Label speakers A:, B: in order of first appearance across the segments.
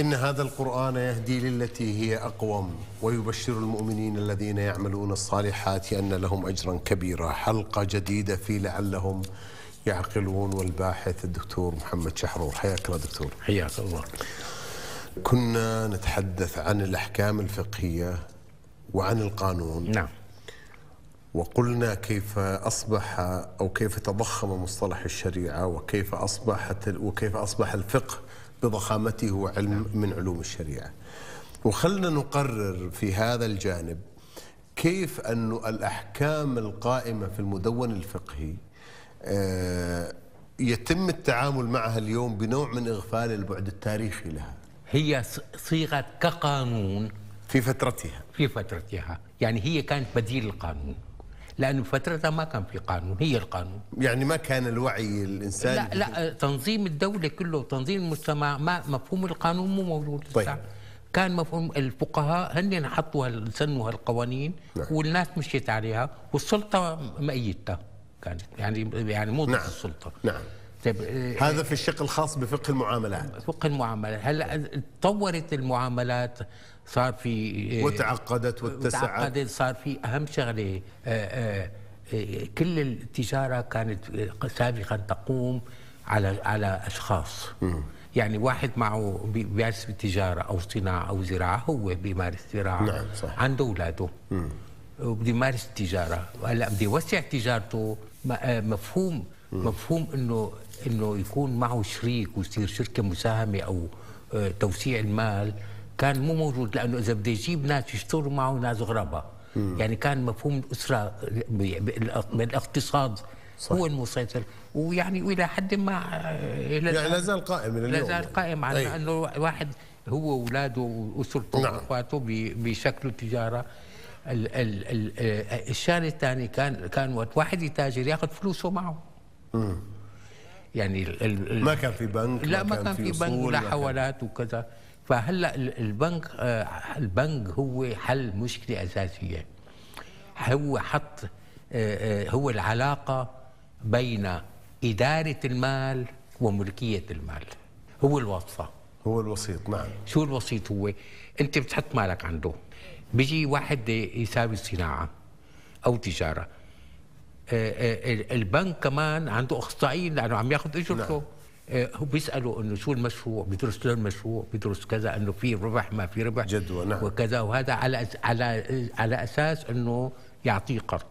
A: إن هذا القرآن يهدي للتي هي أقوم ويبشر المؤمنين الذين يعملون الصالحات أن لهم أجرا كبيرا حلقة جديدة في لعلهم يعقلون والباحث الدكتور محمد شحرور حياك الله دكتور
B: حياك الله
A: كنا نتحدث عن الأحكام الفقهية وعن القانون
B: نعم
A: وقلنا كيف أصبح أو كيف تضخم مصطلح الشريعة وكيف أصبحت وكيف أصبح الفقه بضخامته
B: نعم.
A: علم من علوم الشريعة وخلنا نقرر في هذا الجانب كيف أن الأحكام القائمة في المدون الفقهي آه، يتم التعامل معها اليوم بنوع من إغفال البعد التاريخي لها
B: هي ص- صيغت كقانون
A: في فترتها
B: في فترتها يعني هي كانت بديل القانون لأنه فترتها ما كان في قانون هي القانون
A: يعني ما كان الوعي الإنساني
B: لا لا تنظيم الدولة كله وتنظيم المجتمع ما مفهوم القانون مو موجود
A: طيب.
B: لسه. كان مفهوم الفقهاء هن حطوا هال- سنوا هالقوانين
A: نعم.
B: والناس مشيت عليها والسلطة مأيدتها كانت يعني يعني مو ضد
A: نعم.
B: السلطة
A: نعم.
B: طيب آه،
A: هذا في الشق الخاص بفقه المعاملات
B: فقه المعاملات هلا تطورت المعاملات صار في آه،
A: وتعقدت واتسعت
B: تعقدت صار في اهم شغله آه، آه، آه، كل التجاره كانت آه، سابقا تقوم على على اشخاص يعني واحد معه بي- بيمارس بالتجاره او صناعه او زراعه هو بيمارس زراعه
A: نعم، صح.
B: عنده اولاده وبده يمارس التجاره وهلا بده يوسع تجارته م- آه، مفهوم مفهوم انه انه يكون معه شريك ويصير شركه مساهمه او آه، توسيع المال كان مو موجود لانه اذا بده يجيب ناس يشتغلوا معه ناس غرباء يعني كان مفهوم الاسره ب- بالأ- بالاقتصاد هو المسيطر ويعني والى حد ما آه، إلى
A: يعني لا
B: الآن
A: زال قائم الى
B: لا
A: اليوم
B: زال قائم على
A: أي.
B: أيه؟ انه واحد هو واولاده واسرته
A: نعم.
B: نعم. واخواته بي- بيشكلوا تجاره ال- ال- ال- آه، الشاري الثاني كان كان وقت واحد يتاجر ياخذ فلوسه معه يعني ال- ال- ال-
A: ما كان في بنك
B: لا ما كان في بنك
A: أصول،
B: ولا
A: ما كان-
B: حوالات وكذا فهلا ال- البنك آه، البنك هو حل مشكله اساسيه هو حط آه، آه، هو العلاقه بين اداره المال وملكيه المال هو الوصفه
A: هو الوسيط نعم
B: شو الوسيط هو انت بتحط مالك عنده بيجي واحد يساوي صناعه او تجاره آه، آه، ال- البنك كمان عنده اخصائيين لانه عم ياخذ اجرته
A: نعم.
B: آه، هو بيسالوا انه شو المشروع بيدرس لون المشروع بيدرس كذا انه في ربح ما في ربح
A: جدوى، نعم.
B: وكذا وهذا على أس- على على اساس انه يعطيه قرض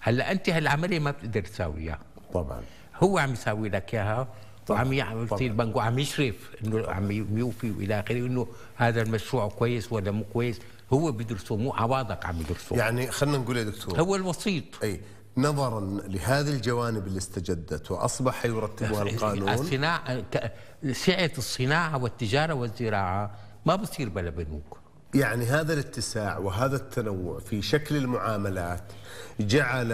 B: هلا انت هالعمليه ما بتقدر تساويها
A: طبعا
B: هو عم يساوي لك اياها وعم يعمل
A: طبعاً.
B: في البنك وعم يشرف انه عم يوفي والى اخره انه هذا المشروع كويس ولا مو كويس هو بيدرسه مو عواضك عم يدرسه
A: يعني خلينا نقول يا دكتور
B: هو الوسيط
A: اي نظرا لهذه الجوانب اللي استجدت واصبح يرتبها القانون
B: الصناعه ك- سعه الصناعه والتجاره والزراعه ما بصير بلا بنوك
A: يعني هذا الاتساع وهذا التنوع في شكل المعاملات جعل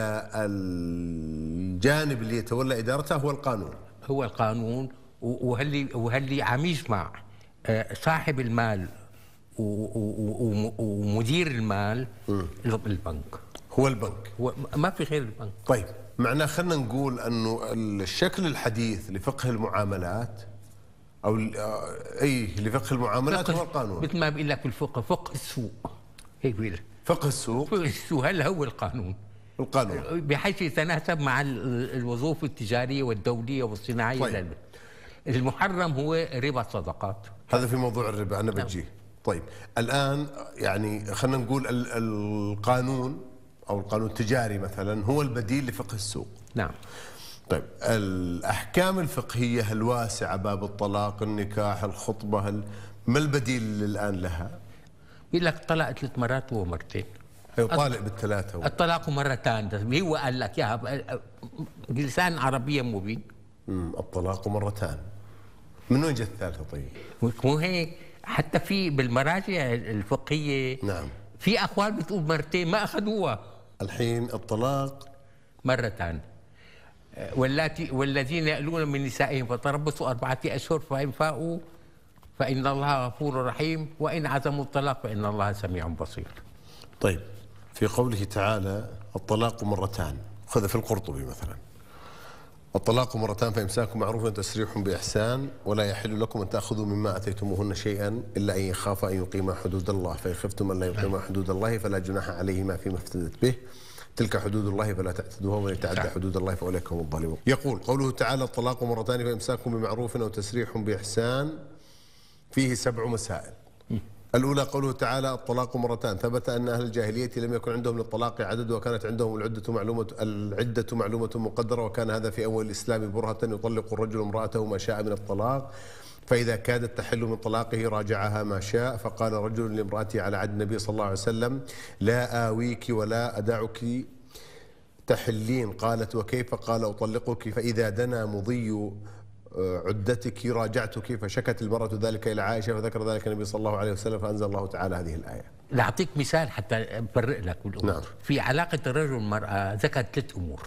A: الجانب اللي يتولى ادارته هو القانون
B: هو القانون و- وهاللي وهاللي عم يجمع آه، صاحب المال و- و- و- ومدير المال البنك
A: هو البنك
B: هو ما في غير البنك
A: طيب معناه خلينا نقول انه الشكل الحديث لفقه المعاملات او ال- آه، اي لفقه المعاملات هو القانون إيه،
B: مثل ما بقول لك بالفقه فقه السوق هيك بقول لك.
A: فقه السوق
B: فقه السوق هلا هو القانون أيوة.
A: القانون
B: بحيث يتناسب مع ال- الوظوف التجاريه والدوليه والصناعيه
A: طيب.
B: لل- المحرم هو ربا الصدقات
A: هذا في موضوع الربا انا بجيه طيب الان يعني خلينا نقول ال- القانون او القانون التجاري مثلا هو البديل لفقه السوق
B: نعم
A: طيب الاحكام الفقهيه الواسعه باب الطلاق النكاح الخطبه ال- ما البديل الان لها
B: بيقول لك طلق ثلاث مرات وهو مرتين
A: هي أيوة، طالع بالثلاثه
B: الطلاق مرتان هو قال لك اياها ب- بلسان عربيه مبين
A: أمم، الطلاق مرتان من وين جت الثالثه طيب؟
B: مو هيك حتى في بالمراجع الفقهيه
A: نعم
B: في اقوال بتقول مرتين ما اخذوها
A: الحين الطلاق
B: مرتان أه، واللاتي والذين يألون من نسائهم فتربصوا أربعة أشهر فإن فاءوا فإن الله غفور رحيم وإن عزموا الطلاق فإن الله سميع بصير
A: طيب في قوله تعالى الطلاق مرتان خذ في القرطبي مثلا الطلاق مرتان فإمساك معروف وتسريح بإحسان ولا يحل لكم أن تأخذوا مما أتيتموهن شيئا إلا أن يخافا أن يقيما حدود الله فإن خفتم أن لا يقيما حدود الله فلا جناح عليهما فيما افتدت به تلك حدود الله فلا تعتدوها ومن يتعدى حدود الله فأولئك هم الظالمون يقول قوله تعالى الطلاق مرتان فإمساك بمعروف أو تسريح بإحسان فيه سبع مسائل الأولى قوله تعالى الطلاق مرتان ثبت أن أهل الجاهلية لم يكن عندهم للطلاق عدد وكانت عندهم العدة معلومة العدة معلومة مقدرة وكان هذا في أول الإسلام برهة يطلق الرجل امرأته ما شاء من الطلاق فإذا كادت تحل من طلاقه راجعها ما شاء فقال رجل لامرأته على عهد النبي صلى الله عليه وسلم لا آويك ولا أدعك تحلين قالت وكيف قال أطلقك فإذا دنا مضي آه، عدتك راجعتك فشكت المرأة ذلك إلى عائشة فذكر ذلك النبي صلى الله عليه وسلم فأنزل الله تعالى هذه الآية
B: لأعطيك مثال حتى أفرق لك بالأمور
A: نعم.
B: في علاقة الرجل والمرأة ذكرت ثلاث أمور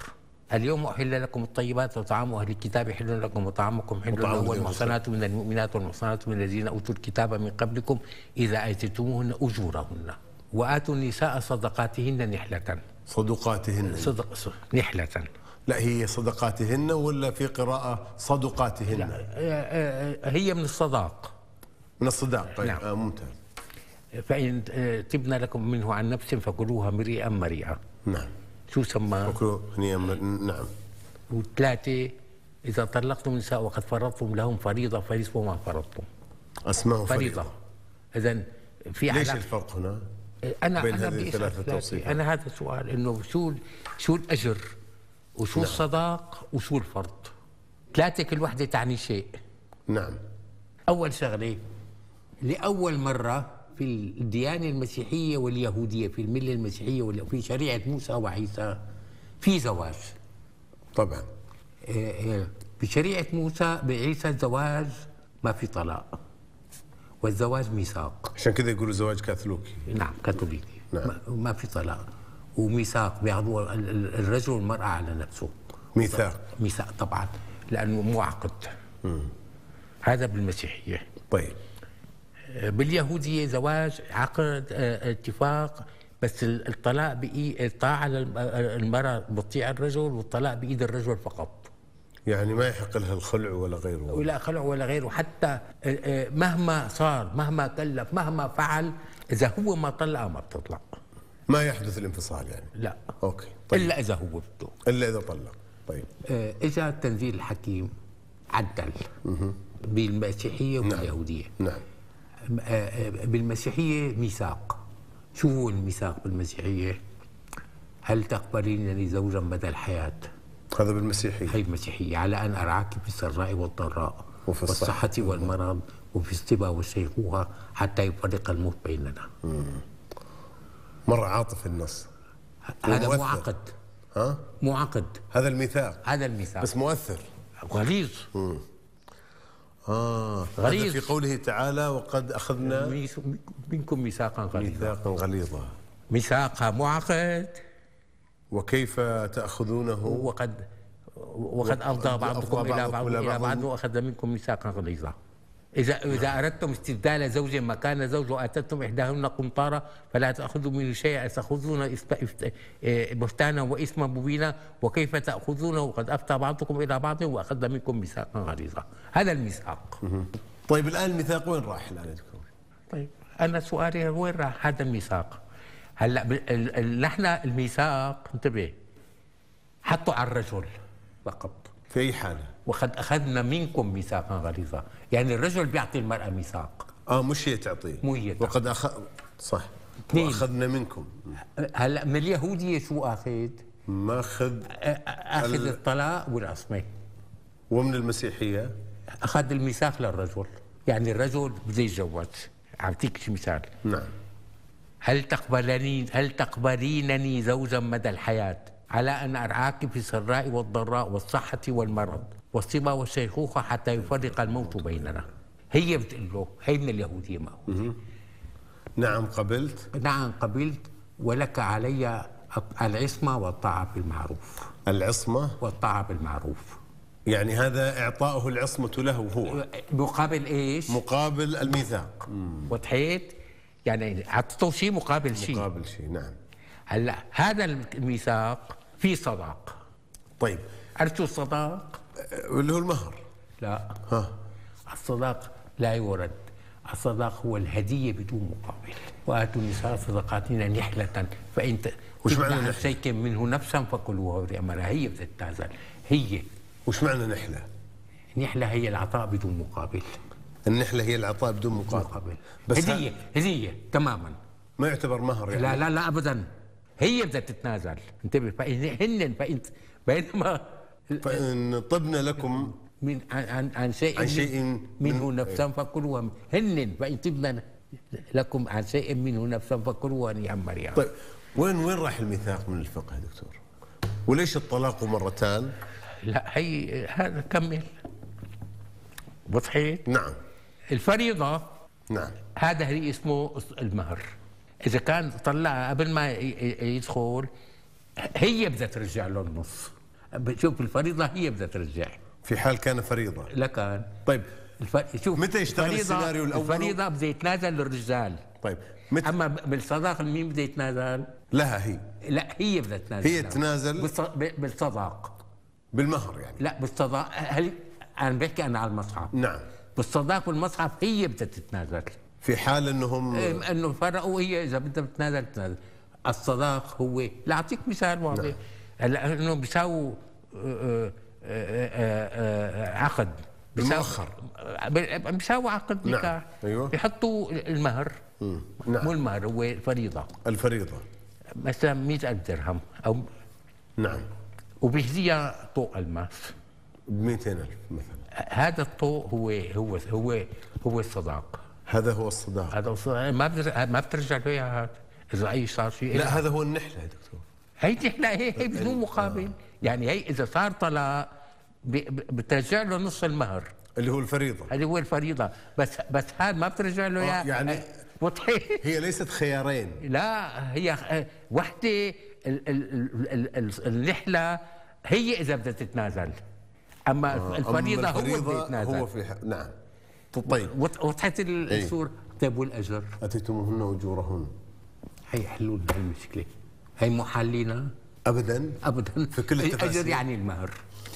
B: اليوم أحل لكم الطيبات وطعام أهل الكتاب حل لكم وطعامكم حل
A: وطعام
B: لكم
A: الذين
B: والمحصنات من المؤمنات والمحصنات من الذين أوتوا الكتاب من قبلكم إذا آتيتموهن أجورهن وآتوا النساء صدقاتهن نحلة
A: صدقاتهن
B: صدق صدق- نحلة آه،
A: لا هي صدقاتهن ولا في قراءة صدقاتهن
B: آه، هي من الصداق
A: من الصداق طيب
B: نعم.
A: آه ممتاز
B: فإن تبنى لكم منه عن نفس فكلوها مريئا مريئا
A: نعم
B: شو سماه؟
A: وكلوا هنيئا من- نعم
B: وثلاثة إذا طلقتم النساء وقد فرضتم لهم فريضة فنصف ما فرضتم
A: أسماء
B: فريضة
A: فريضة
B: إذا في
A: ليش
B: علاقة
A: الفرق هنا؟
B: أنا
A: بين
B: أنا
A: هذه
B: بدي
A: الثلاثة
B: أسأل ثلاثة
A: التوصيفات؟
B: أنا هذا السؤال إنه شو شو الأجر وشو الصداق وشو الفرض ثلاثة كل وحدة تعني شيء
A: نعم
B: أول شغلة لأول مرة في الديانة المسيحية واليهودية في الملة المسيحية وفي شريعة موسى وعيسى في زواج آه،
A: طبعا
B: بشريعة موسى بعيسى الزواج ما في طلاق والزواج ميثاق
A: عشان كذا يقولوا زواج كاثوليكي
B: نعم كاثوليكي
A: نعم.
B: ما- ما في طلاق وميثاق بياخذوا ال- ال- الرجل والمرأة على نفسه
A: ميثاق
B: ميثاق طبعا لأنه مو عقد هذا بالمسيحية
A: طيب
B: باليهودية زواج عقد آه، اتفاق بس ال- الطلاق بإي الطاعة للمرأة بتطيع الرجل والطلاق بإيد الرجل فقط
A: يعني ما يحق لها الخلع ولا غيره
B: ولا خلع ولا غيره حتى آه، آه، مهما صار مهما كلف مهما فعل اذا هو ما طلق ما بتطلع
A: ما يحدث الانفصال يعني
B: لا
A: اوكي
B: طيب.
A: طيب
B: الا اذا هو بده
A: الا اذا طلق طيب
B: آه، اجى تنزيل الحكيم عدل بالمسيحيه واليهوديه
A: نعم
B: آه، آه، بالمسيحيه ميثاق شو هو الميثاق بالمسيحيه؟ هل تقبلينني زوجا مدى الحياه؟
A: هذا بالمسيحي
B: هي المسيحية على أن أرعاك في السراء والضراء
A: وفي
B: والصحة والمرض وفي الصبا والشيخوخة حتى يفرق الموت بيننا
A: مره عاطف النص
B: هذا مو
A: ومؤثر.
B: عقد
A: ها
B: مو عقد
A: هذا الميثاق
B: هذا الميثاق
A: بس مؤثر
B: غليظ
A: اه هذا
B: غليظ.
A: في قوله تعالى وقد اخذنا
B: ميث- منكم ميثاقا غليظا
A: ميثاقا غليظا
B: ميثاقا مو عقد
A: وكيف تاخذونه
B: وقد وقد افضى بعضكم الى بعض الى بعض واخذ منكم ميثاقا غليظا إذا إذا أردتم استبدال زوج مكان زوج وآتتم إحداهن قنطارا فلا تأخذوا منه شيئا أتأخذون إثم- إفت- إيه، بهتانا وإثما مبينا وكيف تأخذونه وقد أفتى بعضكم إلى بعض وأخذ منكم ميثاقا غليظا هذا الميثاق
A: طيب الان الميثاق وين راح الان عندكم؟
B: طيب انا سؤالي وين راح هذا الميثاق هلا ب- ال- ال- نحن الميثاق انتبه حطوا على الرجل فقط
A: في اي حاله؟
B: وقد اخذنا منكم ميثاقا غليظا يعني الرجل بيعطي المراه ميثاق
A: اه مش هي تعطيه
B: مو هي تعطيه.
A: وقد اخذ صح
B: اثنين.
A: واخذنا منكم
B: هلا من اليهوديه شو اخذ
A: ما اخذ
B: اخذ
A: ال-
B: الطلاق والعصمه
A: ومن المسيحيه
B: اخذ الميثاق للرجل يعني الرجل بده يتزوج اعطيك شي مثال
A: نعم
B: هل تقبلني هل تقبلينني زوجا مدى الحياة على أن أرعاك في السراء والضراء والصحة والمرض والصبا والشيخوخة حتى يفرق الموت بيننا هي بتقول له هي من اليهودية ما هو
A: نعم قبلت
B: نعم قبلت ولك علي العصمة والطاعة بالمعروف
A: العصمه
B: والطاعة بالمعروف
A: يعني هذا اعطائه العصمه له هو
B: مقابل ايش؟
A: مقابل الميثاق
B: وضحيت؟ يعني أعطيته شيء مقابل شيء
A: مقابل شيء نعم
B: هلا هذا الميثاق في صداق
A: طيب
B: عرفتوا الصداق؟
A: اللي هو المهر
B: لا
A: ها
B: الصداق لا يورد الصداق هو الهدية بدون مقابل وآتوا النساء صدقاتهن نحلة فإن ت-
A: وش معنى
B: تمنعن
A: نحلة؟
B: شيئا منه نفسا فكلوها ولأمرها هي بتتنازل هي
A: وش معنى نحلة؟
B: نحلة هي العطاء بدون مقابل
A: النحلة هي العطاء بدون مقابل
B: مقابل
A: بس ها-
B: هدية هدية تماما
A: ما يعتبر مهر يعني
B: لا لا لا ابدا هي بدها تتنازل انتبه فإن هن فإنت بينما
A: فإن طبنا لكم
B: من عن عن, عن شيء,
A: عن شيء
B: منه
A: من- إيه.
B: نفسا فكلوا من- هن فإن تبنا لكم عن شيء منه نفسا فكلوا نعم مريم
A: طيب وين وين راح الميثاق من الفقه دكتور؟ وليش الطلاق مرتان؟
B: لا هي هذا كمل وضحت
A: نعم
B: الفريضة
A: نعم
B: هذا اللي اسمه المهر إذا كان طلعها قبل ما ي- ي- يدخل هي بدها ترجع له النص شوف الفريضة هي بدها ترجع
A: في حال كان فريضة
B: لكن
A: طيب
B: الف... شوف
A: متى يشتغل
B: الفريضة-
A: السيناريو الأول؟
B: الفريضة بده يتنازل الرجال
A: طيب مت...
B: أما ب- بالصداق مين بده يتنازل؟
A: لها هي
B: لا هي بدها تنازل
A: هي تنازل؟
B: بالص... ب- بالصداق
A: بالمهر يعني
B: لا بالصداق هل أنا بحكي أنا على المصحف
A: نعم
B: بالصداق والمصحف هي بدها تتنازل
A: في حال انهم
B: إيه، انه فرقوا هي اذا بدها بتنازل بتنازل الصداق هو لاعطيك مثال
A: نعم.
B: واضح هلا انه بيساووا آه، آه، آه، آه، عقد بيساووا-
A: المؤخر.
B: ب- بيساووا عقد
A: نعم،
B: نكاح
A: أيوة.
B: بيحطوا المهر
A: نعم.
B: مو المهر هو الفريضه
A: الفريضة
B: مثلا 100000 درهم او
A: نعم
B: وبيهديها طوق الماس
A: ب 200000 مثلا
B: هذا الطوق هو هو هو هو الصداق
A: هذا هو الصداق
B: هذا الصداق ما بترجع ما بترجع له اياها هاد. اذا اي صار شيء
A: لا هذا هو النحلة يا دكتور
B: هي تحلى هي هي بدون مقابل يعني هي اذا صار طلاق ب- ب- بترجع له نص المهر
A: اللي هو الفريضة
B: هذه هو الفريضه بس بس هذا ما بترجع له
A: آه،
B: أيوة يا أيوة.
A: يعني-
B: وضحي
A: هي ليست خيارين
B: لا هي آه، وحده ال- ال- ال- ال- ال- النحله هي اذا بدها تتنازل اما الفريضه
A: آه، أما
B: هو بده
A: هو
B: يتنازل
A: في ح... نعم طيب
B: وض- وضحت ال-
A: إيه.
B: الصوره طيب والاجر
A: اتيتموهن اجورهن
B: هي حلول هالمشكله هي محلينا
A: ابدا
B: ابدا
A: في كل التفاسير.
B: الاجر يعني المهر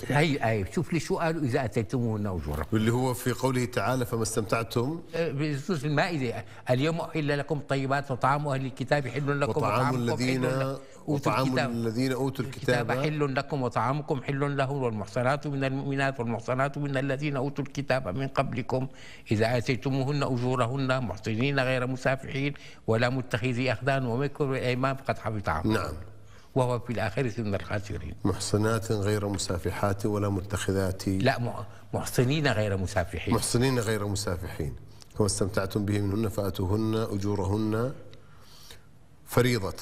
B: هي آية شوف لي شو قالوا اذا اتيتموهن اجورا
A: واللي هو في قوله تعالى فما استمتعتم
B: أه، بخصوص المائده اليوم احل لكم طيبات وطعام اهل الكتاب حل لكم
A: وطعام
B: وطعامكم
A: الذين
B: حل لكم. أوتوا
A: وطعام
B: الكتاب
A: الذين اوتوا
B: الكتاب
A: الكتاب
B: حل لكم وطعامكم حل لهم والمحصنات من المؤمنات والمحصنات من الذين اوتوا الكتاب من قبلكم اذا اتيتموهن اجورهن محصنين غير مسافحين ولا متخذي اخدان ومكر الايمان فقد حبط عمل
A: نعم
B: وهو في الاخره من الخاسرين
A: محصنات غير مسافحات ولا متخذات
B: لا مع- محصنين غير مسافحين
A: محصنين غير مسافحين فما استمتعتم به منهن فاتوهن اجورهن فريضه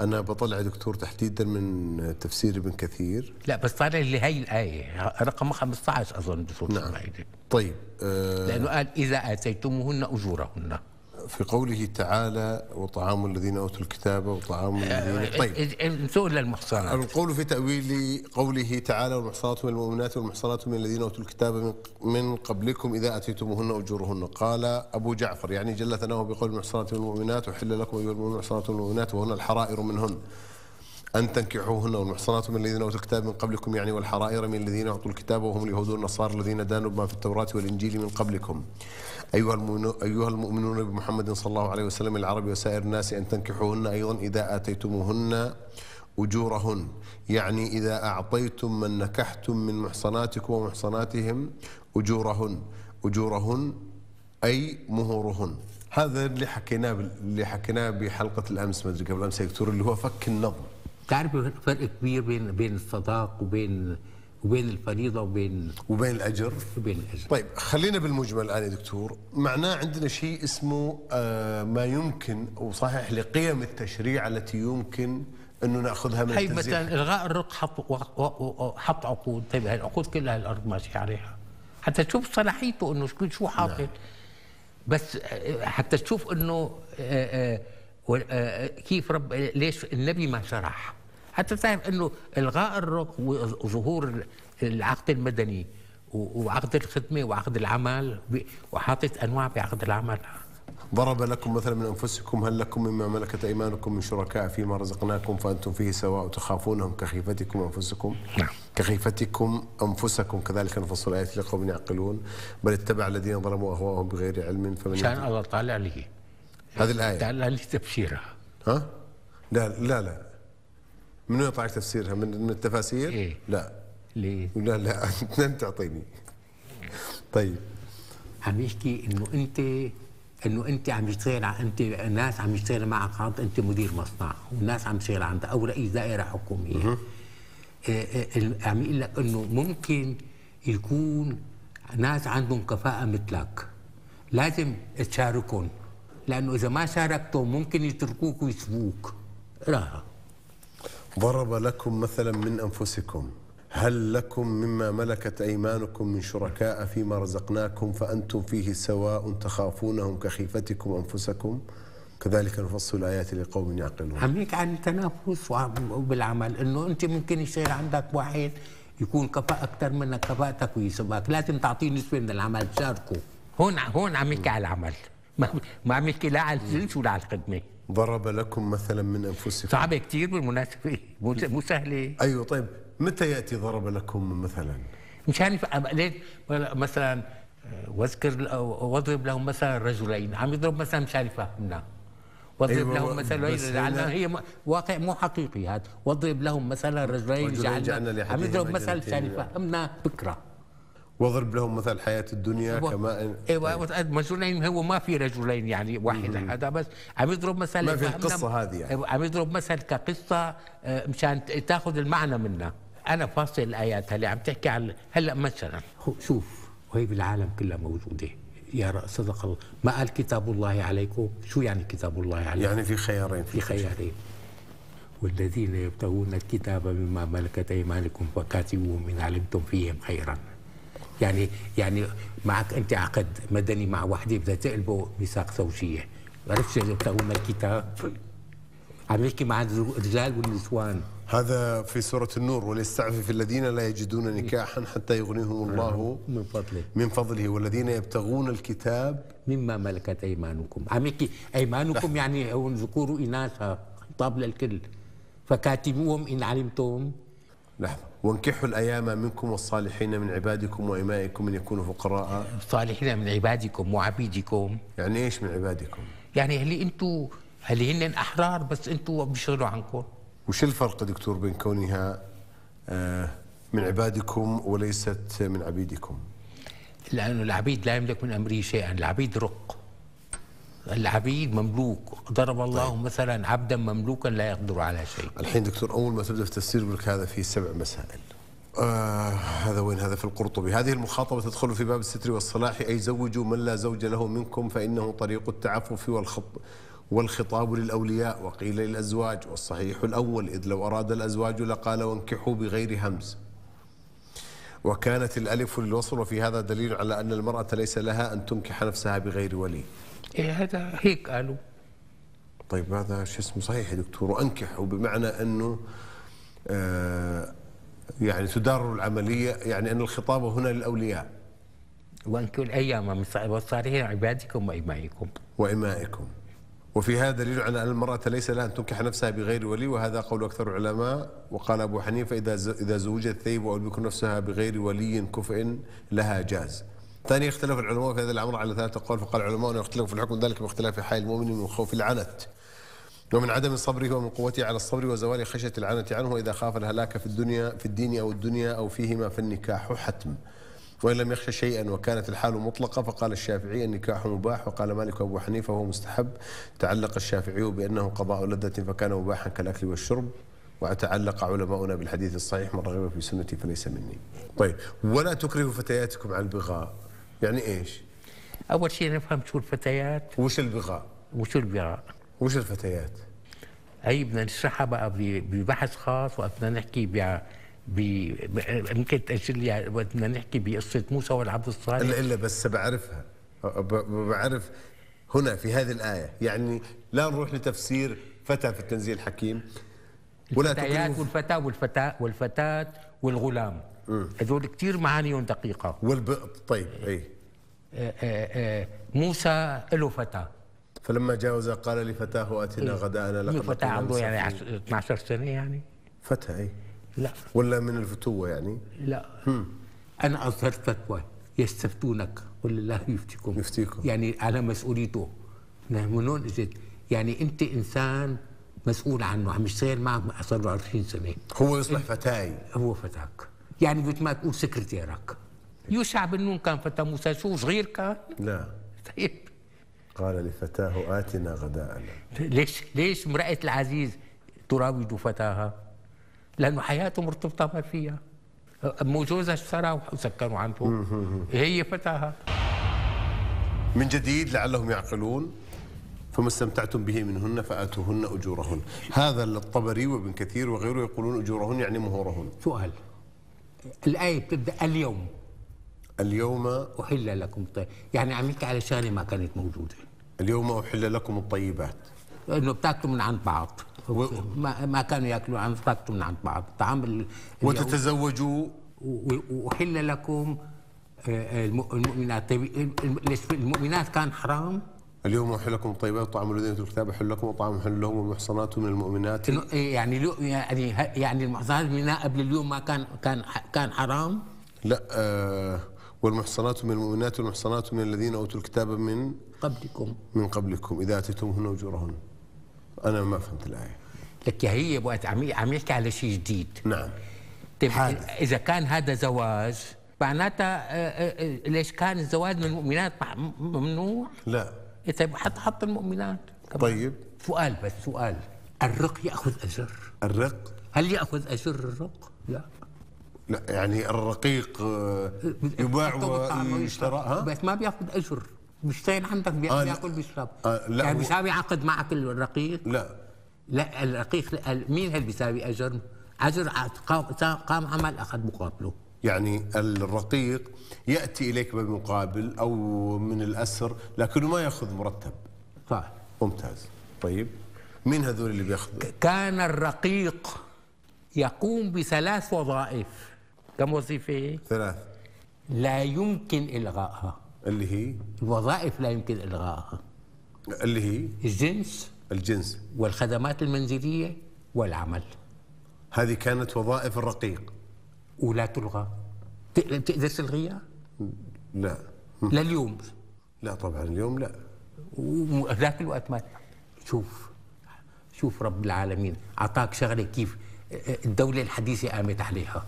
A: انا بطلع يا دكتور تحديدا من تفسير ابن كثير
B: لا بس طالع لي هاي الآية رقم 15 أظن بسورة
A: نعم.
B: المائدة
A: طيب آه،
B: لأنه قال إذا آتيتموهن أجورهن
A: في قوله تعالى وطعام الذين اوتوا الكتاب وطعام الذين طيب
B: طيب سؤال للمحصنات
A: القول في تأويل قوله تعالى والمحصنات من المؤمنات والمحصنات من الذين أوتوا الكتاب من- من قبلكم إذا أتيتموهن أجورهن قال أبو جعفر يعني جل ثناؤه بقول المحصنات من المؤمنات وحل لكم أيها المؤمنون المحصنات من المؤمنات وهن الحرائر منهن أن تنكحوهن والمحصنات من الذين أوتوا الكتاب من قبلكم يعني والحرائر من الذين أوتوا الكتاب وهم اليهود والنصارى الذين دانوا بما في التوراة والإنجيل من قبلكم أيها المؤمنون, أيها المؤمنون بمحمد صلى الله عليه وسلم العرب وسائر الناس أن تنكحوهن أيضا إذا آتيتموهن أجورهن يعني إذا أعطيتم من نكحتم من محصناتكم ومحصناتهم أجورهن أجورهن اي مهورهن هذا اللي حكيناه بال- اللي حكيناه بحلقه الامس ما ادري قبل امس يا دكتور اللي هو فك النظم
B: بتعرف فرق كبير بين بين الصداق وبين وبين الفريضة وبين
A: وبين الاجر
B: وبين الأجر
A: طيب خلينا بالمجمل الان يا دكتور معناه عندنا شيء اسمه آه، ما يمكن او صحيح لقيم التشريع التي يمكن انه ناخذها من
B: هي
A: التنزيل
B: مثلا إلغاء الرق حط و- و- و- حط عقود طيب هالعقود كلها الأرض ماشية عليها حتى تشوف صلاحيته إنه شو- شو حاطط بس آه، حتى تشوف انه آه، آه، وال- آه، كيف رب ليش النبي ما شرح حتى تعرف انه الغاء الرق وظهور ال- العقد المدني و- وعقد الخدمه وعقد العمل ب- وحاطط انواع بعقد العمل
A: ضرب لكم مثلا من انفسكم هل لكم مما ملكت ايمانكم من شركاء فيما رزقناكم فانتم فيه سواء تخافونهم كخيفتكم انفسكم
B: نعم.
A: كخيفتكم انفسكم كذلك نفصل الايات لقوم يعقلون بل اتبع الذين ظلموا اهواءهم بغير علم فمن
B: مشان
A: يهدي-
B: الله طالع لي
A: هذه الايه
B: طالع لي تبشيرها
A: ها؟ لا لا لا من وين طلعت تفسيرها؟ من من التفاسير؟
B: إيه.
A: لا
B: ليه؟
A: لا لا أنت لم تعطيني طيب
C: عم يحكي انه انت انه انت عم تشتغل ع- انت ناس عم يشتغل معك عرض انت مدير مصنع وناس عم تشتغل عندك او رئيس دائره حكوميه آه، آه، ال- عم يقول لك انه ممكن يكون ناس عندهم كفاءه مثلك لازم تشاركهم لانه اذا ما شاركتهم ممكن يتركوك إيه ويسبوك راها
A: ضرب لكم مثلا من انفسكم هل لكم مما ملكت ايمانكم من شركاء فيما رزقناكم فانتم فيه سواء تخافونهم كخيفتكم انفسكم كذلك نفصل الايات لقوم يعقلون
C: عم يحكي عن التنافس وعم- وبالعمل انه انت ممكن يصير عندك واحد يكون كفاءة أكثر منك كفاءتك ويسبك لازم تعطيه نسبة من العمل تشاركه
B: هون هون عم يحكي على العمل ما ما عم يحكي لا على الجنس ولا على الخدمه
A: ضرب لكم مثلا من انفسكم
B: صعبه كثير بالمناسبه مو مو سهله
A: ايوه طيب متى ياتي ضرب لكم مثلا
B: مشان يفهم ليه مثلا آه، واذكر أو- واضرب لهم مثلا رجلين عم يضرب مثلا مشان يفهمنا واضرب
A: أيوة،
B: أيوة لهم
A: و-
B: مثلا
A: بس
B: جعلنا
A: هنا-
B: هي م- واقع مو حقيقي هذا واضرب لهم مثلا رجلين
A: رجلين جعلنا
B: جعلنا عم
A: لأحدهما
B: يضرب مثلا مشان
A: جنتين.
B: يفهمنا فكره
A: واضرب لهم مثل حياه الدنيا كما
B: ايوه
C: طيب.
B: وتقد- رجلين هو ما في رجلين يعني واحد هذا بس عم يضرب مثلا
A: ما في
B: فهمنا-
A: القصة هذه يعني.
B: أيوة، عم يضرب مثلا كقصه آه، مشان ت- تاخذ المعنى منها انا فاصل الايات اللي عم تحكي عن هلا مثلا
C: هو- شوف وهي بالعالم كلها موجودة يا ر- صدق الله ما قال كتاب الله عليكم شو يعني كتاب الله عليكم
A: يعني في خيارين
C: في خيارين والذين يبتغون الكتاب مما ملكت ايمانكم فكاتبوهم ان علمتم فيهم خيرا يعني يعني معك انت عقد مدني مع وحده بدها تقلبه ميثاق زوجيه عرفت شو يبتغون الكتاب عم يحكي مع الرجال والنسوان
A: هذا في سورة النور وليستعفف الذين لا يجدون نكاحا حتى يغنيهم الله
C: من فضله
A: من فضله والذين يبتغون الكتاب
C: مما ملكت ايمانكم عم يحكي ايمانكم يعني هو ذكور واناث خطاب للكل فكاتبوهم ان علمتم
A: لحظة وانكحوا الأيام منكم والصالحين من عبادكم وإمائكم من يكونوا فقراء
B: صالحين من عبادكم وعبيدكم
A: يعني إيش من عبادكم
B: يعني هلي انتو هلي هن احرار بس انتو بيشغلوا عنكم
A: وش الفرق دكتور بين كونها آه، من عبادكم وليست من عبيدكم
B: لانه العبيد لا يملك من امره شيئا العبيد رق العبيد مملوك ضرب الله طيب. مثلا عبدا مملوكا لا يقدر على شيء
A: الحين دكتور أول ما تبدأ في التفسير يقول لك هذا فيه سبع مسائل آه هذا وين هذا في القرطبي هذه المخاطبة تدخل في باب الستر والصلاح أي زوجوا من لا زوج له منكم فإنه طريق التعفف والخط والخطاب للأولياء وقيل للأزواج والصحيح الأول إذ لو أراد الأزواج لقال وانكحوا بغير همز وكانت الألف للوصل وفي هذا دليل على أن المرأة ليس لها أن تنكح نفسها بغير ولي
B: إيه هذا هيك قالوا
A: طيب هذا شو اسمه صحيح يا دكتور وانكحوا بمعنى انه آه يعني تدار العمليه يعني ان الخطابه هنا للاولياء
B: وانكوا الايام من ص- والصالحين عبادكم وامائكم
A: وامائكم وفي هذا دليل على ان المراه ليس لها ان تنكح نفسها بغير ولي وهذا قول اكثر العلماء وقال ابو حنيفه اذا ز- اذا زوجت ثيب او البكر نفسها بغير ولي كفء لها جاز. ثانيا اختلف العلماء في هذا الامر على ثلاثه اقوال فقال علماؤنا يختلف في الحكم ذلك باختلاف حال المؤمن من خوف العنت. ومن عدم صبره ومن قوته على الصبر وزوال خشية العنة عنه إذا خاف الهلاك في الدنيا في الدين أو الدنيا أو فيهما فالنكاح حتم وإن لم يخش شيئا وكانت الحال مطلقة فقال الشافعي النكاح مباح وقال مالك وأبو حنيفة هو مستحب تعلق الشافعي بأنه قضاء لذة فكان مباحا كالأكل والشرب وتعلق علماؤنا بالحديث الصحيح من رغب في سنتي فليس مني طيب ولا تكرهوا فتياتكم على البغاء يعني إيش
B: اول شيء نفهم شو الفتيات
A: وش البغاء
B: وشو البراء
A: وش الفتيات
B: هي بدنا نشرحها بقى ب- ببحث خاص وقت بدنا نحكي ب ب ب- ممكن تاجل لي وقت بدنا نحكي بقصه موسى والعبد الصالح
A: الا الا بس بعرفها ب- ب- بعرف هنا في هذه الايه يعني لا نروح لتفسير فتى في التنزيل حكيم ولا
B: الفتيات
A: تكلموا
B: والفتاة والفتاة والفتاة والغلام هذول كثير معانيهم دقيقة
A: والبئر طيب اي
B: آه، آه، آه، موسى له فتاة
A: فلما جاوز قال لفتاه اتنا غداءنا
B: إيه،
A: لقد
D: انه فتاه
A: لقينا
D: عمره يعني
A: مسافرين.
D: عش- 12 سنه يعني
A: فتى اي
D: لا
A: ولا من الفتوه يعني
D: لا
B: انا اصدرت فتوى يستفتونك قل الله يفتيكم
A: يفتيكم.
B: يعني على مسؤوليته نعم، من هون اجت يعني انت انسان مسؤول عنه عم يشتغل معك صار له 20 سنه
A: هو يصبح فتاي
B: هو فتاك يعني مثل ما تقول سكرتيرك
D: يوشع بن نون كان فتى موسى شو صغير كان
A: لا
D: طيب
A: قال لفتاه اتنا غداءنا
D: ليش ليش امراه العزيز تراود فتاها لانه حياته مرتبطه ما فيها مو جوزها اشترى وسكنوا عنده هي فتاها
A: من جديد لعلهم يعقلون فما استمتعتم به منهن فآتوهن أجورهن هذا الطبري وابن كثير وغيره يقولون أجورهن يعني مهورهن
B: سؤال الايه بتبدا اليوم
A: اليوم
B: احل لكم الطيب يعني عم يحكي على شغله ما كانت موجوده
A: اليوم أحل لكم الطيبات
B: انه بتاكلوا من عند بعض ما, ما كانوا ياكلوا عن بتاكلوا من عند بعض طعام ال- اليهود.
A: وتتزوجوا
B: و- و- وأحل لكم آه، الم- المؤمنات طيب ال- ال- ليش المؤمنات كان حرام
A: اليوم أحل لكم الطيبات طعام الذين أوتوا الكتاب حل لكم وطعام حل لهم والمحصنات من المؤمنات
B: إنه إيه يعني لو- يعني ه- يعني المحصنات المؤمنات قبل اليوم ما كان كان ح- كان حرام
A: لا آه والمحصنات من المؤمنات والمحصنات من الذين أوتوا الكتاب من
B: قبلكم
A: من قبلكم إذا آتيتمهن أجورهن أنا ما فهمت الآية
D: لك هي وقت عم عم يحكي على شيء جديد
A: نعم
D: طيب
A: حادث.
D: اذا كان هذا زواج معناتها آه، آه، آه، ليش كان الزواج من المؤمنات مع- م- ممنوع؟
A: لا
D: إيه، طيب حط حط المؤمنات كمان.
A: طيب
B: سؤال بس سؤال الرق ياخذ اجر
A: الرق
B: هل ياخذ اجر الرق؟ لا
A: لا يعني الرقيق آه، يباع
B: بتحطه بالطعم
A: ويشترى
B: ويشرب.
A: ها؟
B: بس ما بياخذ اجر بيشتغل عندك
A: آه، لا.
B: بياكل بياكل بيشرب
A: آه، لا،
B: يعني
A: هو-
B: بيساوي عقد معك الرقيق
A: لا
B: لا الرقيق ال- مين هل بيساوي اجر؟ اجر عاد قام- قام عمل اخذ مقابله
A: يعني الرقيق ياتي اليك بمقابل او من الاسر لكنه ما ياخذ مرتب
B: صح
A: ممتاز طيب مين هذول اللي بياخذوا؟
D: كان الرقيق يقوم بثلاث وظائف كم وظيفة؟
A: ثلاث
B: لا يمكن الغائها
A: اللي هي
B: الوظائف لا يمكن الغائها
A: اللي هي
B: الجنس
A: الجنس
B: والخدمات المنزليه والعمل
A: هذه كانت وظائف الرقيق
B: ولا تلغى بتقدر بتقدر تلغيها
A: لا
B: لليوم
A: لا طبعا اليوم لا
B: وذاك الوقت ما شوف شوف رب العالمين اعطاك شغله كيف الدوله الحديثه قامت عليها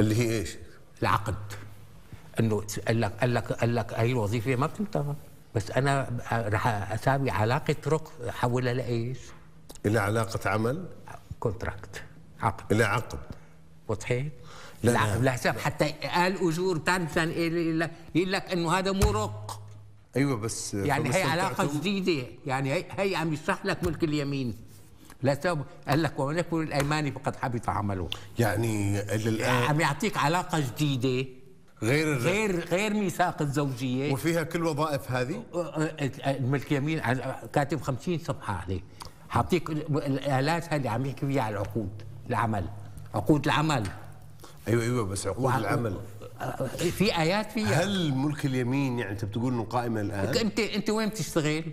A: اللي هي ايش؟
B: العقد
D: انه قال لك قال لك قال لك هي الوظيفة ما بتنتهى بس انا رح اساوي علاقة رق احولها لايش؟
A: الى علاقه عمل
D: كونتراكت عقد
A: الى عقد
D: وضحت؟
A: لا،
D: العقد
A: لا.
D: لحساب حتى قال اجور بتعرف شان إيه يقول لك- يقول لك انه هذا مو رق
A: ايوه بس
B: يعني
A: فما
B: هي علاقه
A: استمتعتم؟
B: جديده يعني هي, هي عم يشرح لك ملك اليمين لا تب قال لك ومن يكفر الايمان فقد حبط عمله
A: يعني الى الان
B: عم يعطيك علاقه جديده
A: غير الرق
B: غير غير ميثاق الزوجيه
A: وفيها كل وظائف هذه
B: الملك يمين عن- كاتب 50 صفحه عليه حاعطيك ال- الالات هاي اللي عم يحكي فيها على العقود العمل عقود العمل
A: ايوه ايوه بس عقود العمل
B: في ايات فيها
A: هل ملك اليمين يعني انت بتقول انه قائمه الان؟
B: انت انت وين بتشتغل؟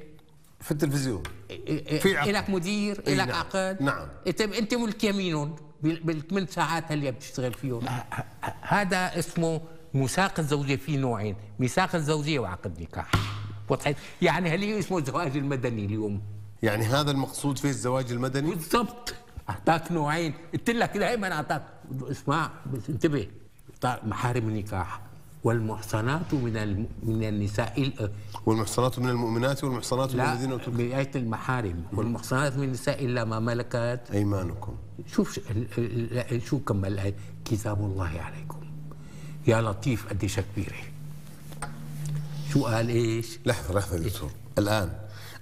A: في التلفزيون في
B: في
A: عقد.
B: عقد. لك مدير
A: إي
B: لك
A: نعم.
B: عقد
A: نعم.
B: انت انت ملك يمينهم بال- بالثمان ساعات اللي بتشتغل فيهم
D: ه- ه- هذا اسمه ميثاق الزوجية في نوعين ميثاق الزوجية وعقد نكاح وضحت؟ يعني هل اسمه الزواج المدني اليوم
A: يعني هذا المقصود فيه الزواج المدني؟
B: بالضبط اعطاك نوعين قلت لك دائما اعطاك اسمع بس انتبه طيب، محارم النكاح والمحصنات من الم... من النساء ال...
A: والمحصنات من المؤمنات والمحصنات من
B: لا
A: الذين اوتوا الكتاب.
B: بآية المحارم والمحصنات من النساء إلا ما ملكت
A: ايمانكم
B: شوف ش- ال- ال- ال- شو كمل الآية كتاب الله عليكم يا لطيف قديش كبيرة شو قال إيش
A: لحظه لحظه يا دكتور الان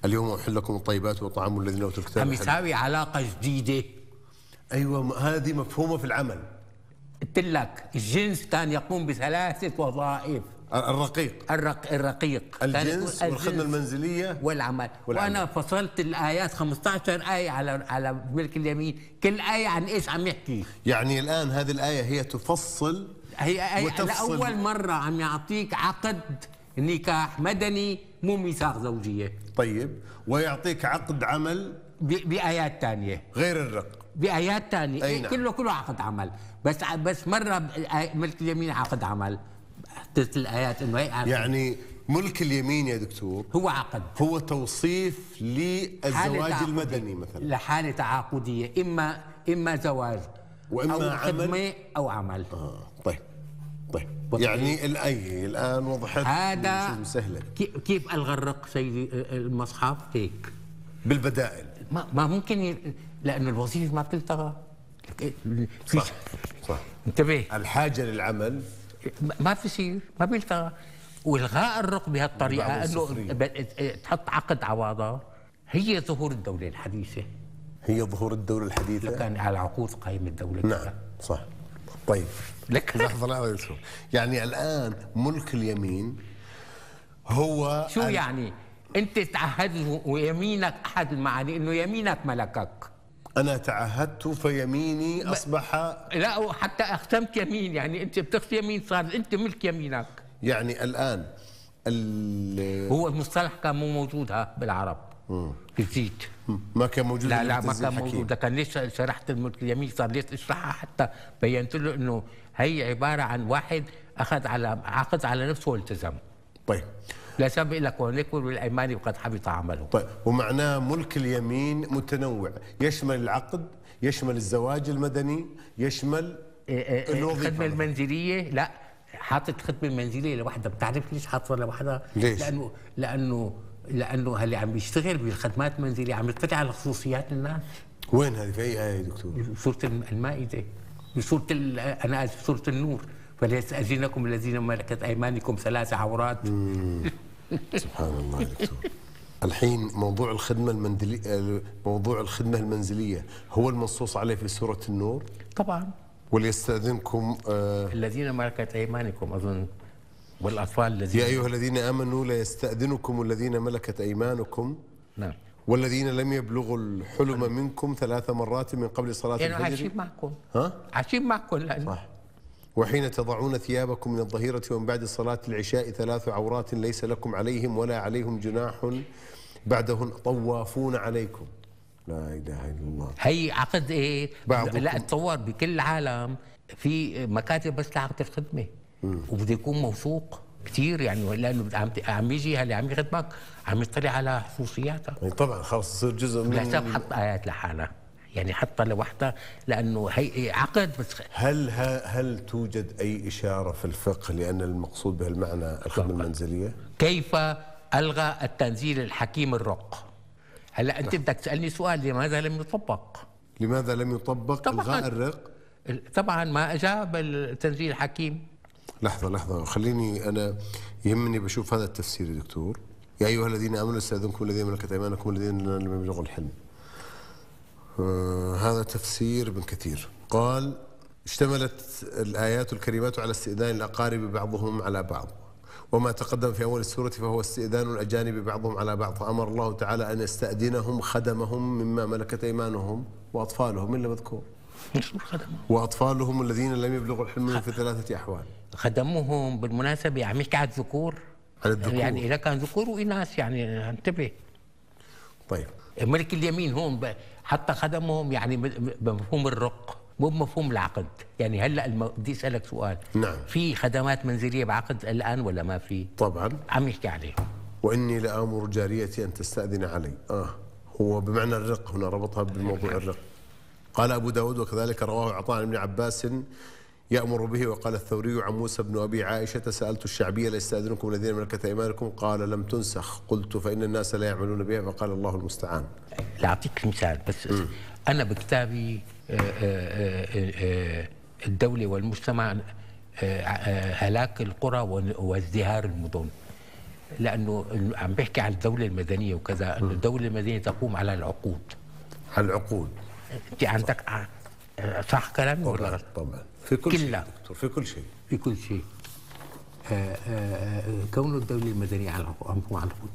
A: اليوم احل لكم الطيبات وطعام الذين اوتوا
B: عم
A: الكتاب حل-
B: يساوي علاقة جديدة
A: ايوه م- هذه مفهومه في العمل
B: قلت لك الجنس كان يقوم بثلاثة وظائف
A: ال- الرقيق
B: الرق الرقيق كان
A: الجنس
B: يقول
A: والخدمه المنزليه
B: والعمل.
A: والعمل.
B: وانا فصلت الايات 15 ايه على على ملك اليمين كل ايه عن ايش عم يحكي
A: يعني الان هذه الايه هي تفصل
B: هي أي
A: وتفصل.
B: لاول مره عم يعطيك عقد
C: نكاح مدني مو ميثاق زوجيه
A: طيب ويعطيك عقد عمل
C: ب- بايات ثانيه
A: غير الرق
C: بايات ثانيه
A: أي نعم.
C: كله كله عقد عمل بس ع- بس مره ب- آي- ملك اليمين عقد عمل حطيت الايات انه هي عقد.
A: يعني ملك اليمين يا دكتور
C: هو عقد
A: هو توصيف
C: حالة
A: للزواج
C: تعاقدية.
A: المدني مثلا
C: لحاله تعاقديه اما اما زواج
A: وإما
C: او
A: عمل.
C: خدمه او عمل
A: آه طيب طيب
C: وطيب.
A: يعني الأي الآن وضحت
C: هذا
A: سهلة
C: كي- كيف الغى الرق سيدي المصحف هيك
A: بالبدائل
C: ما, ما ممكن ي... لانه الوظيفه ما بتلتغى
A: صح صح
B: انتبه
A: الحاجة للعمل
B: ما- ما بصير ما بيلتغى والغاء الرق بهالطريقه
A: بعض
B: انه
A: الصفرية.
B: ب- تحط عقد عواضه هي ظهور الدوله الحديثه
A: هي ظهور الدولة الحديثة
C: كان على عقود قائمه الدوله
A: نعم صح طيب
B: لك.
A: لحظة لحظة يا دكتور يعني الآن ملك اليمين هو
C: شو
A: ال-
C: يعني انت تعهد له ويمينك احد المعاني انه يمينك ملكك
A: أنا تعهدت فيميني أصبح
B: لا وحتى اختمت يمين يعني انت بتخت يمين صار انت ملك يمينك
A: يعني الآن ال-
B: هو المصطلح كان مو موجود ها بالعرب بالزيت
A: ما كان موجود
B: لا لا
A: المجلس
B: ما كان
A: الحكيم.
B: موجود كان ليش شرحت الملك اليمين صار ليش اشرحها حتى بينت له انه هي عباره عن واحد اخذ على عقد على نفسه والتزم
A: طيب
B: لا سبق لك وان يكبر بالايمان وقد حبط عمله
A: طيب ومعناه ملك اليمين متنوع يشمل العقد يشمل الزواج المدني يشمل
B: إيه إيه إيه،
A: الوظيفة
B: الخدمه
A: مثلاً.
B: المنزليه لا حاطط خدمه منزليه لوحدها بتعرف ليش حاطها لوحدها؟
A: ليش؟
B: لانه
C: لانه لانه لانه اللي عم بيشتغل بالخدمات المنزليه عم يطلع على خصوصيات الناس
A: وين هذه في اي ايه يا دكتور؟
C: سورة المائدة سورة ال- أنا آسف سورة النور فليستأذنكم الذين ملكت أيمانكم ثلاث عورات
A: سبحان الله يا دكتور الحين موضوع الخدمة المندلي موضوع الخدمة المنزلية هو المنصوص عليه في سورة النور
B: طبعا
A: وليستأذنكم آه،
B: الذين ملكت ايمانكم اظن
A: يا
B: والاطفال
A: أيوة.
B: الذين
A: أيها الذين آمنوا ليستأذنكم الذين ملكت أيمانكم
B: نعم
A: والذين لم يبلغوا الحلم منكم ثلاث مرات من قبل صلاة
B: يعني
A: الفجر
B: عايشين معكم
A: ها؟
B: عايشين معكم لانه
A: صح وحين تضعون ثيابكم من الظهيرة ومن بعد صلاة العشاء ثلاث عورات ليس لكم عليهم ولا عليهم جناح بعدهن طوافون عليكم لا إله إلا الله
B: هي عقد ايه؟
A: بعضكم.
B: لا تصور بكل العالم في مكاتب بس لعقد الخدمه وبده يكون موثوق كثير يعني لانه عم عم يجي هلا عم يخدمك عم يطلع على خصوصياتك
A: يعني طبعا خلاص يصير جزء
B: لحساب
A: من
B: حط ايات لحالها يعني حطها لوحدها لانه هي عقد بس
A: هل ه- هل توجد أي إشارة في الفقه لأن المقصود به المعنى الخدمة المنزلية؟
B: كيف الغى التنزيل الحكيم الرق هلا انت بدك تسالني سؤال لماذا لم يطبق
A: لماذا لم يطبق
B: طبعاً.
A: إلغاء الرق؟
B: طبعا ما اجاب التنزيل الحكيم
A: لحظة لحظة خليني أنا يهمني بشوف هذا التفسير يا دكتور يا أيها الذين آمنوا استأذنكم الذين ملكت أيمانكم الذين لم يبلغوا الحلم آه هذا تفسير ابن كثير قال اشتملت الآيات الكريمات على استئذان الأقارب بعضهم على بعض وما تقدم في أول السورة فهو استئذان الأجانب بعضهم على بعض أمر الله تعالى أن يستأذنهم خدمهم مما ملكت أيمانهم وأطفالهم إلا مذكور
B: شو الخدمة؟
A: وأطفالهم الذين لم يبلغوا الحلم منهم في ثلاثة أحوال
B: خدموهم يعني بالمناسبه عم يحكي عن الذكور
A: على الذكور.
B: يعني اذا كان ذكور واناث يعني انتبه
A: طيب
B: ملك اليمين هون ب- حتى خدمهم يعني ب- بمفهوم الرق مو بمفهوم العقد يعني هلا الم- بدي اسالك سؤال
A: نعم.
B: في خدمات منزليه بعقد الان ولا ما في
A: طبعا
B: عم يحكي عليه
A: واني لامر جاريتي ان تستاذن علي اه هو بمعنى الرق هنا ربطها بالموضوع الرق قال ابو داود وكذلك رواه عطاء بن عباس يامر به وقال الثوري عن موسى بن ابي عائشه سالت الشعبيه ليستاذنكم الذين ملكت ايمانكم قال لم تنسخ قلت فان الناس لا يعملون بها فقال الله المستعان
B: لاعطيك مثال بس انا بكتابي آه، آه، آه، آه، الدوله والمجتمع آه، آه، هلاك القرى وال- وازدهار المدن لانه عم بحكي عن الدوله المدنيه وكذا انه الدوله المدنيه تقوم على العقود
A: على العقول
B: انت عندك ع- صح كلامي ولا
A: طبعا
B: غلط؟
A: طبعا في كل شيء
B: كلها.
A: دكتور في كل شيء
C: في كل شيء آه، آه، آه، كونه الدولة المدنية على العقود- على العقود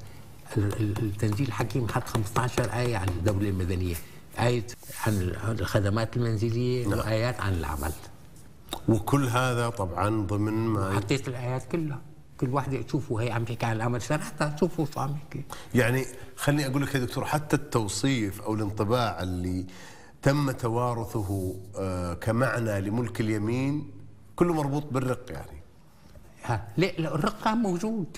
C: ال- ال- التنزيل الحكيم حط 15 آية عن الدولة المدنية آية عن ال- عن الخدمات المنزلية وآيات عن العمل
A: وكل هذا طبعا ضمن ما
C: حطيت الآيات كلها
B: كل واحدة تشوفوا هي عم تحكي عن الأمل سنة تشوفوا شو عم يحكي
A: يعني خليني اقول لك يا دكتور حتى التوصيف او الانطباع اللي تم توارثه آه، كمعنى لملك اليمين كله مربوط بالرق يعني
B: ها لا لا، الرق كان موجود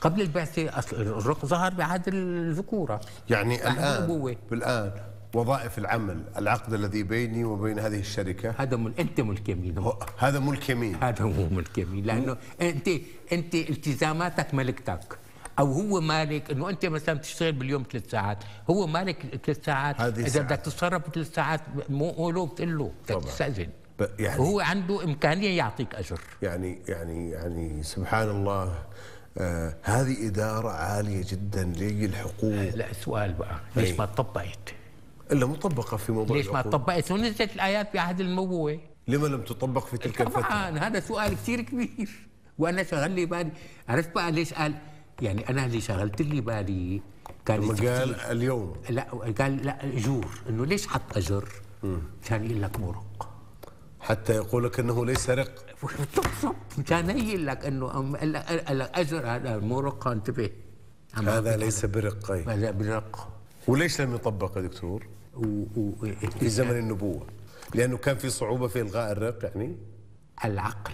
B: قبل البعثة أصل الرق ظهر بعهد الذكورة
A: يعني
B: بعد
A: الان
B: الأبوة.
A: الان وظائف العمل العقد الذي بيني وبين هذه الشركه
B: هذا مل... أنت ملك يمين هو.
A: هو- هذا ملك يمين
B: هذا هو ملك يمين لأنه أنت أنت التزاماتك ملكتك أو هو مالك انه انت مثلا بتشتغل باليوم ثلاث ساعات، هو مالك ثلاث ساعات
A: هذه
B: اذا
A: ساعات.
B: بدك تتصرف بثلاث ساعات مو مو له بتقول له بدك
A: طبعاً.
B: تستأذن
A: ب- يعني
B: هو عنده امكانيه يعطيك اجر
A: يعني يعني يعني سبحان الله آه هذه إدارة عالية جدا للحقوق
E: لا السؤال بقى ليش
A: أي.
E: ما طبقت؟
A: إلا مطبقة في
B: طيب،
A: موضوع
E: ليش ما
A: الحقوق.
E: طبقت ونزلت الايات بعهد النبوه؟
A: لما لم تطبق في تلك الفترة
B: طبعا هذا سؤال كثير كبير وانا شغل لي بالي عرفت بقى ليش قال يعني انا اللي شغلت لي بالي كان
A: ثم قال
B: التفسير-
A: اليوم
B: لا قال لا اجور انه ليش حط اجر؟ مشان يقول لك مرق
A: حتى يقول لك أنه ليس رق
B: بالضبط مشان يقول لك انه أم- قال لك- قال لك اجر هذا مرق انتبه عم
A: هذا
B: أعطيك
A: ليس برق أي.
B: هذا برق
A: وليش لم يطبق يا دكتور
B: و... و...
A: في زمن النبوة لأنه كان في صعوبة في إلغاء الرق يعني
B: العقل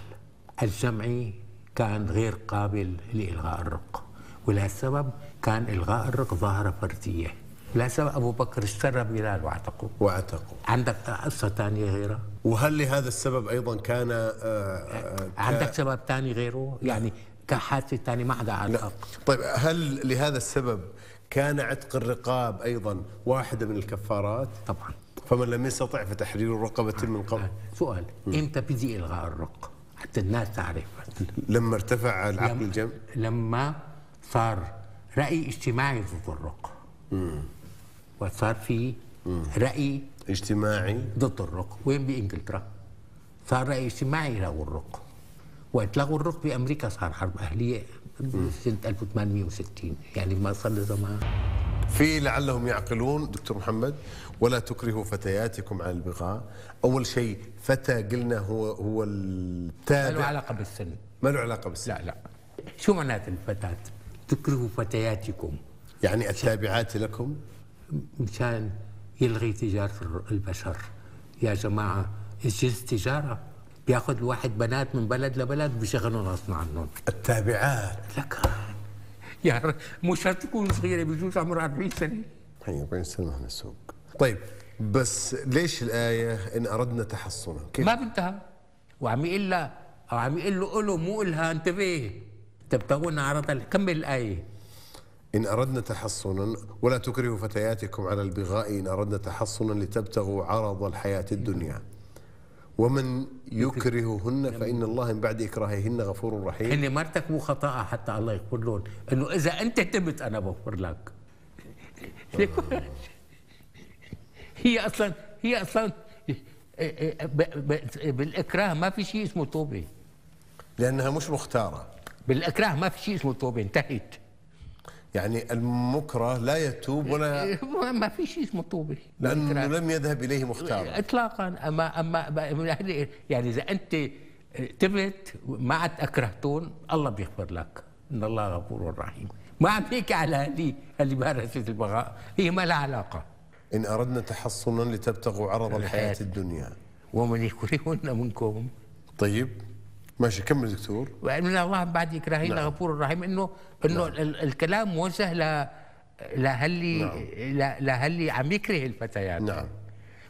B: الجمعي كان غير قابل لإلغاء الرق ولهالسبب كان إلغاء الرق ظاهرة فردية لهالسبب أبو بكر اشترى بلال واعتقه
A: واعتقوا
B: عندك قصة ثانية غيرها؟
A: وهل لهذا السبب أيضا كان آه، آه،
B: عندك سبب ثاني غيره؟ يعني كحادثة ثانية ما حدا
A: لا
B: عاتق
A: طيب هل لهذا السبب كان عتق الرقاب أيضا واحدة من الكفارات
B: طبعا
A: فمن لم يستطع فتحرير رقبة من قبل
B: سؤال امتى بدي إلغاء الرق؟ حتى الناس تعرف
E: نعم.
A: لما ارتفع العقل
B: لم-
A: الجمع
B: لما صار رأي اجتماعي ضد الرق وصار في رأي
A: اجتماعي
B: ضد الرق وين بانجلترا صار راي اجتماعي لغوا الرق وقت لغوا الرق بامريكا صار حرب اهليه سنه 1860 يعني ما صار له زمان
A: في لعلهم يعقلون دكتور محمد ولا تكرهوا فتياتكم على البغاء أول شيء فتى قلنا هو
E: ما
A: هو
E: له
A: التابع
E: علاقه بالسن
A: ما له علاقة بالسن
E: لا لا
B: شو معناتها الفتاه؟ تكرهوا فتياتكم
A: يعني التابعات لكم
B: مشان يلغي تجاره الر- البشر يا جماعه الجنس تجاره بياخذ الواحد بنات من بلد لبلد بيشغلهم غصب عنهم
A: التابعات
B: لك يا ر- مو شرط تكون صغيره بجوز عمرها 40 سنه
A: 40 سنة من السوق طيب بس ليش الآية إن أردنا تحصنا كيف
E: ما بنتهى
B: وعم يقول لها او عم يقول له قله مو قلها انتبه تبتغون عرض ال- كمل الايه
A: إن أردنا تحصنا ولا تكرهوا فتياتكم على البغاء إن أردنا تحصنا لتبتغوا عرض الحياة الدنيا ومن يكرههن فإن الله من بعد إكراههن غفور رحيم
B: هن ما ارتكبوا خطا حتى الله يغفر لهم انه اذا انت تبت انا بغفر لك هي اصلا هي اصلا ب- ب- بالاكراه ما في شيء اسمه توبه
A: لأنها مش مختارة
E: بالاكراه ما في شيء اسمه توبه انتهت
A: يعني المكره لا يتوب ولا
E: ما في شيء اسمه توبه
A: لأنه
E: بالإكراه.
A: لم يذهب إليه مختارا
E: اطلاقا اما اما من أهل- يعني اذا انت تبت ما عاد اكرهتون الله بيغفر لك ان الله غفور رحيم ما عم بيحكي على هالي اللي مارست البغاء هي ما لها علاقه
A: إن أردنا تحصنا لتبتغوا عرض الحياة الدنيا
E: ومن يكرهن منكم
A: طيب ماشي كمل دكتور
E: ومن الله من بعد يكرهن نعم. غفور رحيم انه انه نعم. الكلام موجه ل لهاللي نعم. لهاللي عم يكره الفتيات
A: نعم.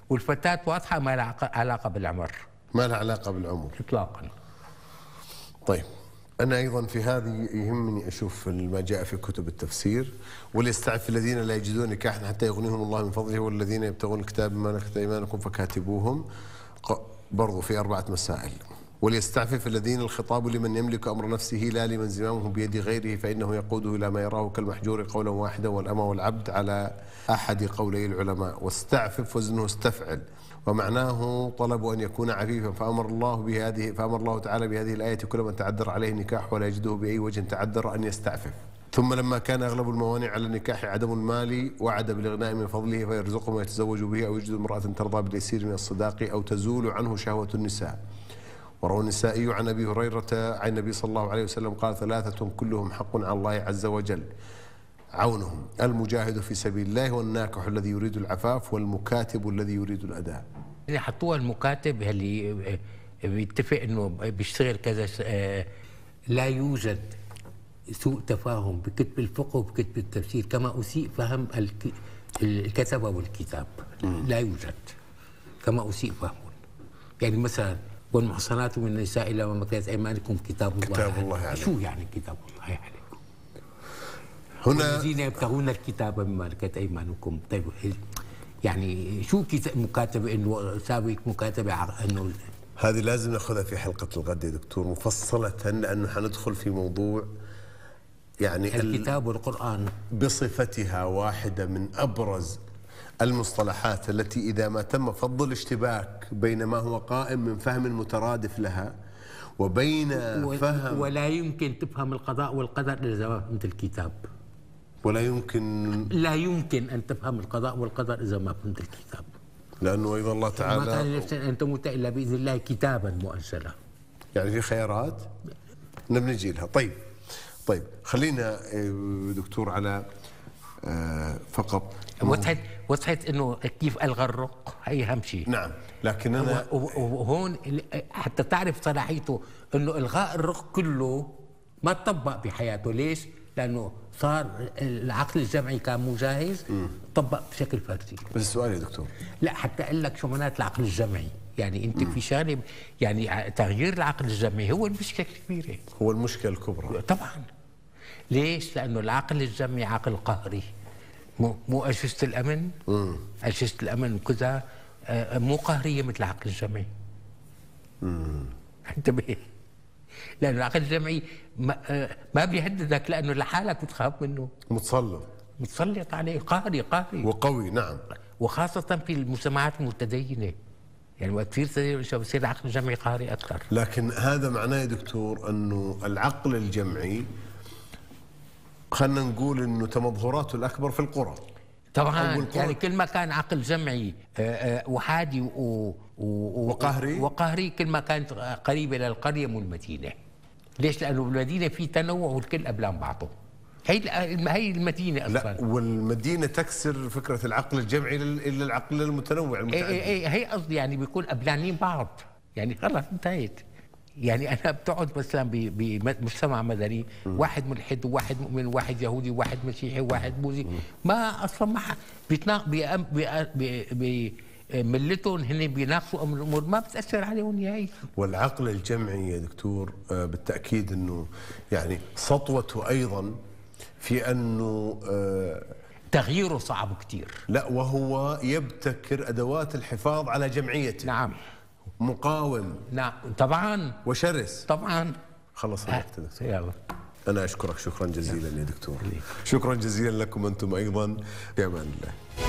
E: والفتاه واضحه ما لها عق- علاقه بالعمر
A: ما لها علاقة بالعمر
E: اطلاقا
A: طيب أنا أيضا في هذه يهمني أشوف ما جاء في كتب التفسير وليستعف الذين لا يجدون نكاحا حتى يغنيهم الله من فضله والذين يبتغون الكتاب مما ملكت أيمانكم فكاتبوهم ق- برضو في أربعة مسائل وليستعفف الذين الخطاب لمن يملك أمر نفسه لا لمن زمامه بيد غيره فإنه يقوده إلى ما يراه كالمحجور قولا واحدا والأمى والعبد على أحد قولي العلماء واستعفف وزنه استفعل ومعناه طلب ان يكون عفيفا فامر الله بهذه فامر الله تعالى بهذه الايه كل من تعذر عليه النكاح ولا يجده باي وجه تعذر ان يستعفف. ثم لما كان اغلب الموانع على النكاح عدم المال وعد بالاغناء من فضله فيرزقه ما يتزوج به او يجد امراه ترضى باليسير من الصداق او تزول عنه شهوه النساء. وروى النسائي عن ابي هريره عن النبي صلى الله عليه وسلم قال ثلاثه كلهم حق على الله عز وجل عونهم المجاهد في سبيل الله والناكح الذي يريد العفاف والمكاتب الذي يريد الاداء
B: اللي حطوها المكاتب اللي
C: آه،
B: بيتفق انه بيشتغل كذا س- آه،
C: لا يوجد سوء تفاهم بكتب الفقه وبكتب التفسير كما أسيء فهم الك- الكتبة والكتاب لا يوجد كما أسيء فهمهم يعني مثلا والمحصنات من النساء إلى ما مكنت أيمانكم كتاب الله
A: كتاب الله عليكم.
C: شو يعني كتاب الله عليكم؟
A: هنا
C: والذين يبتغون الكتاب مما ملكت أيمانكم طيب يعني شو كتاب مكاتبة إنه سابق مكاتبة ع- إنه
A: هذه لازم ناخذها في حلقه الغد يا دكتور مفصله لانه حندخل في موضوع يعني ال-
C: الكتاب والقرآن
A: بصفتها واحده من ابرز المصطلحات التي اذا ما تم فض الاشتباك بين ما هو قائم من فهم مترادف لها وبين
C: و-
A: آه، فهم
C: ولا يمكن تفهم القضاء والقدر اذا ما فهمت الكتاب
A: ولا يمكن
C: لا يمكن ان تفهم القضاء والقدر اذا ما فهمت الكتاب
A: لانه ايضا الله
C: ما كان
A: تعالى
C: لنفس ان تموت الا باذن الله كتابا مؤجلا
A: يعني في خيارات احنا بنجي لها طيب طيب خلينا آه، دكتور على آه، فقط
B: وضحت وضحت انه كيف الغى الرق هي اهم شيء
A: نعم لكن انا
B: و- و- وهون ال- حتى تعرف صلاحيته انه الغاء الرق كله
C: ما طبق بحياته ليش؟ لانه صار العقل الجمعي كان مو جاهز طبق بشكل فردي
A: بس السؤال يا دكتور
C: لا حتى اقول لك شو معنات العقل الجمعي
B: يعني انت في شغله يعني ع- تغيير العقل الجمعي هو المشكله الكبيره
A: هو المشكله الكبرى
B: طبعا ليش؟ لانه العقل الجمعي عقل قهري مو مو اجهزه الامن اجهزه الامن وكذا آه، مو قهريه مثل العقل الجمعي انتبه لانه العقل الجمعي ما, آه، ما بيهددك لانه لحالك بتخاف منه
A: متسلط
B: متسلط عليه قهري قهري
A: وقوي نعم
B: وخاصة في المجتمعات المتدينة يعني وقت تصير تدين الشباب بصير عقل جمعي قهري أكثر
A: لكن هذا معناه يا دكتور انه العقل الجمعي خلينا نقول انه تمظهراته الاكبر في القرى أول
B: طبعا
A: قرن.
B: يعني كل ما كان عقل جمعي آه، آه، وحادي و- و- و-
A: وقهري.
B: وقهري كل ما كانت قريبة للقرية مو المدينة ليش؟ لأنه بالمدينة في تنوع والكل قبلان بعضه هي ال- هي المدينة أصلا
A: لا والمدينه تكسر فكره العقل الجمعي لل- الى العقل المتنوع
B: اي اي
A: المتعدد
B: اي إيه، هي قصدي يعني بيكون قبلانين بعض يعني خلص انتهيت يعني انا بتقعد مثلا ب- بمجتمع مدني واحد ملحد وواحد مؤمن وواحد يهودي وواحد مسيحي وواحد بوذي ما اصلا ما ح- بيتناق بي- بي- بي- بي- ملتهم هن بيناقشوا أم- الامور ما بتاثر عليهم نهائيا
A: والعقل الجمعي يا دكتور آه، بالتاكيد انه يعني سطوته ايضا في انه آه،
B: تغييره صعب كثير
A: لا وهو يبتكر ادوات الحفاظ على جمعيته
B: نعم
A: مقاوم
B: نعم طبعا
A: وشرس
B: طبعا
A: خلص الوقت يا دكتور
B: يلا
A: أنا أشكرك شكرا جزيلا يا دكتور شكرا جزيلا لكم أنتم أيضا في أمان الله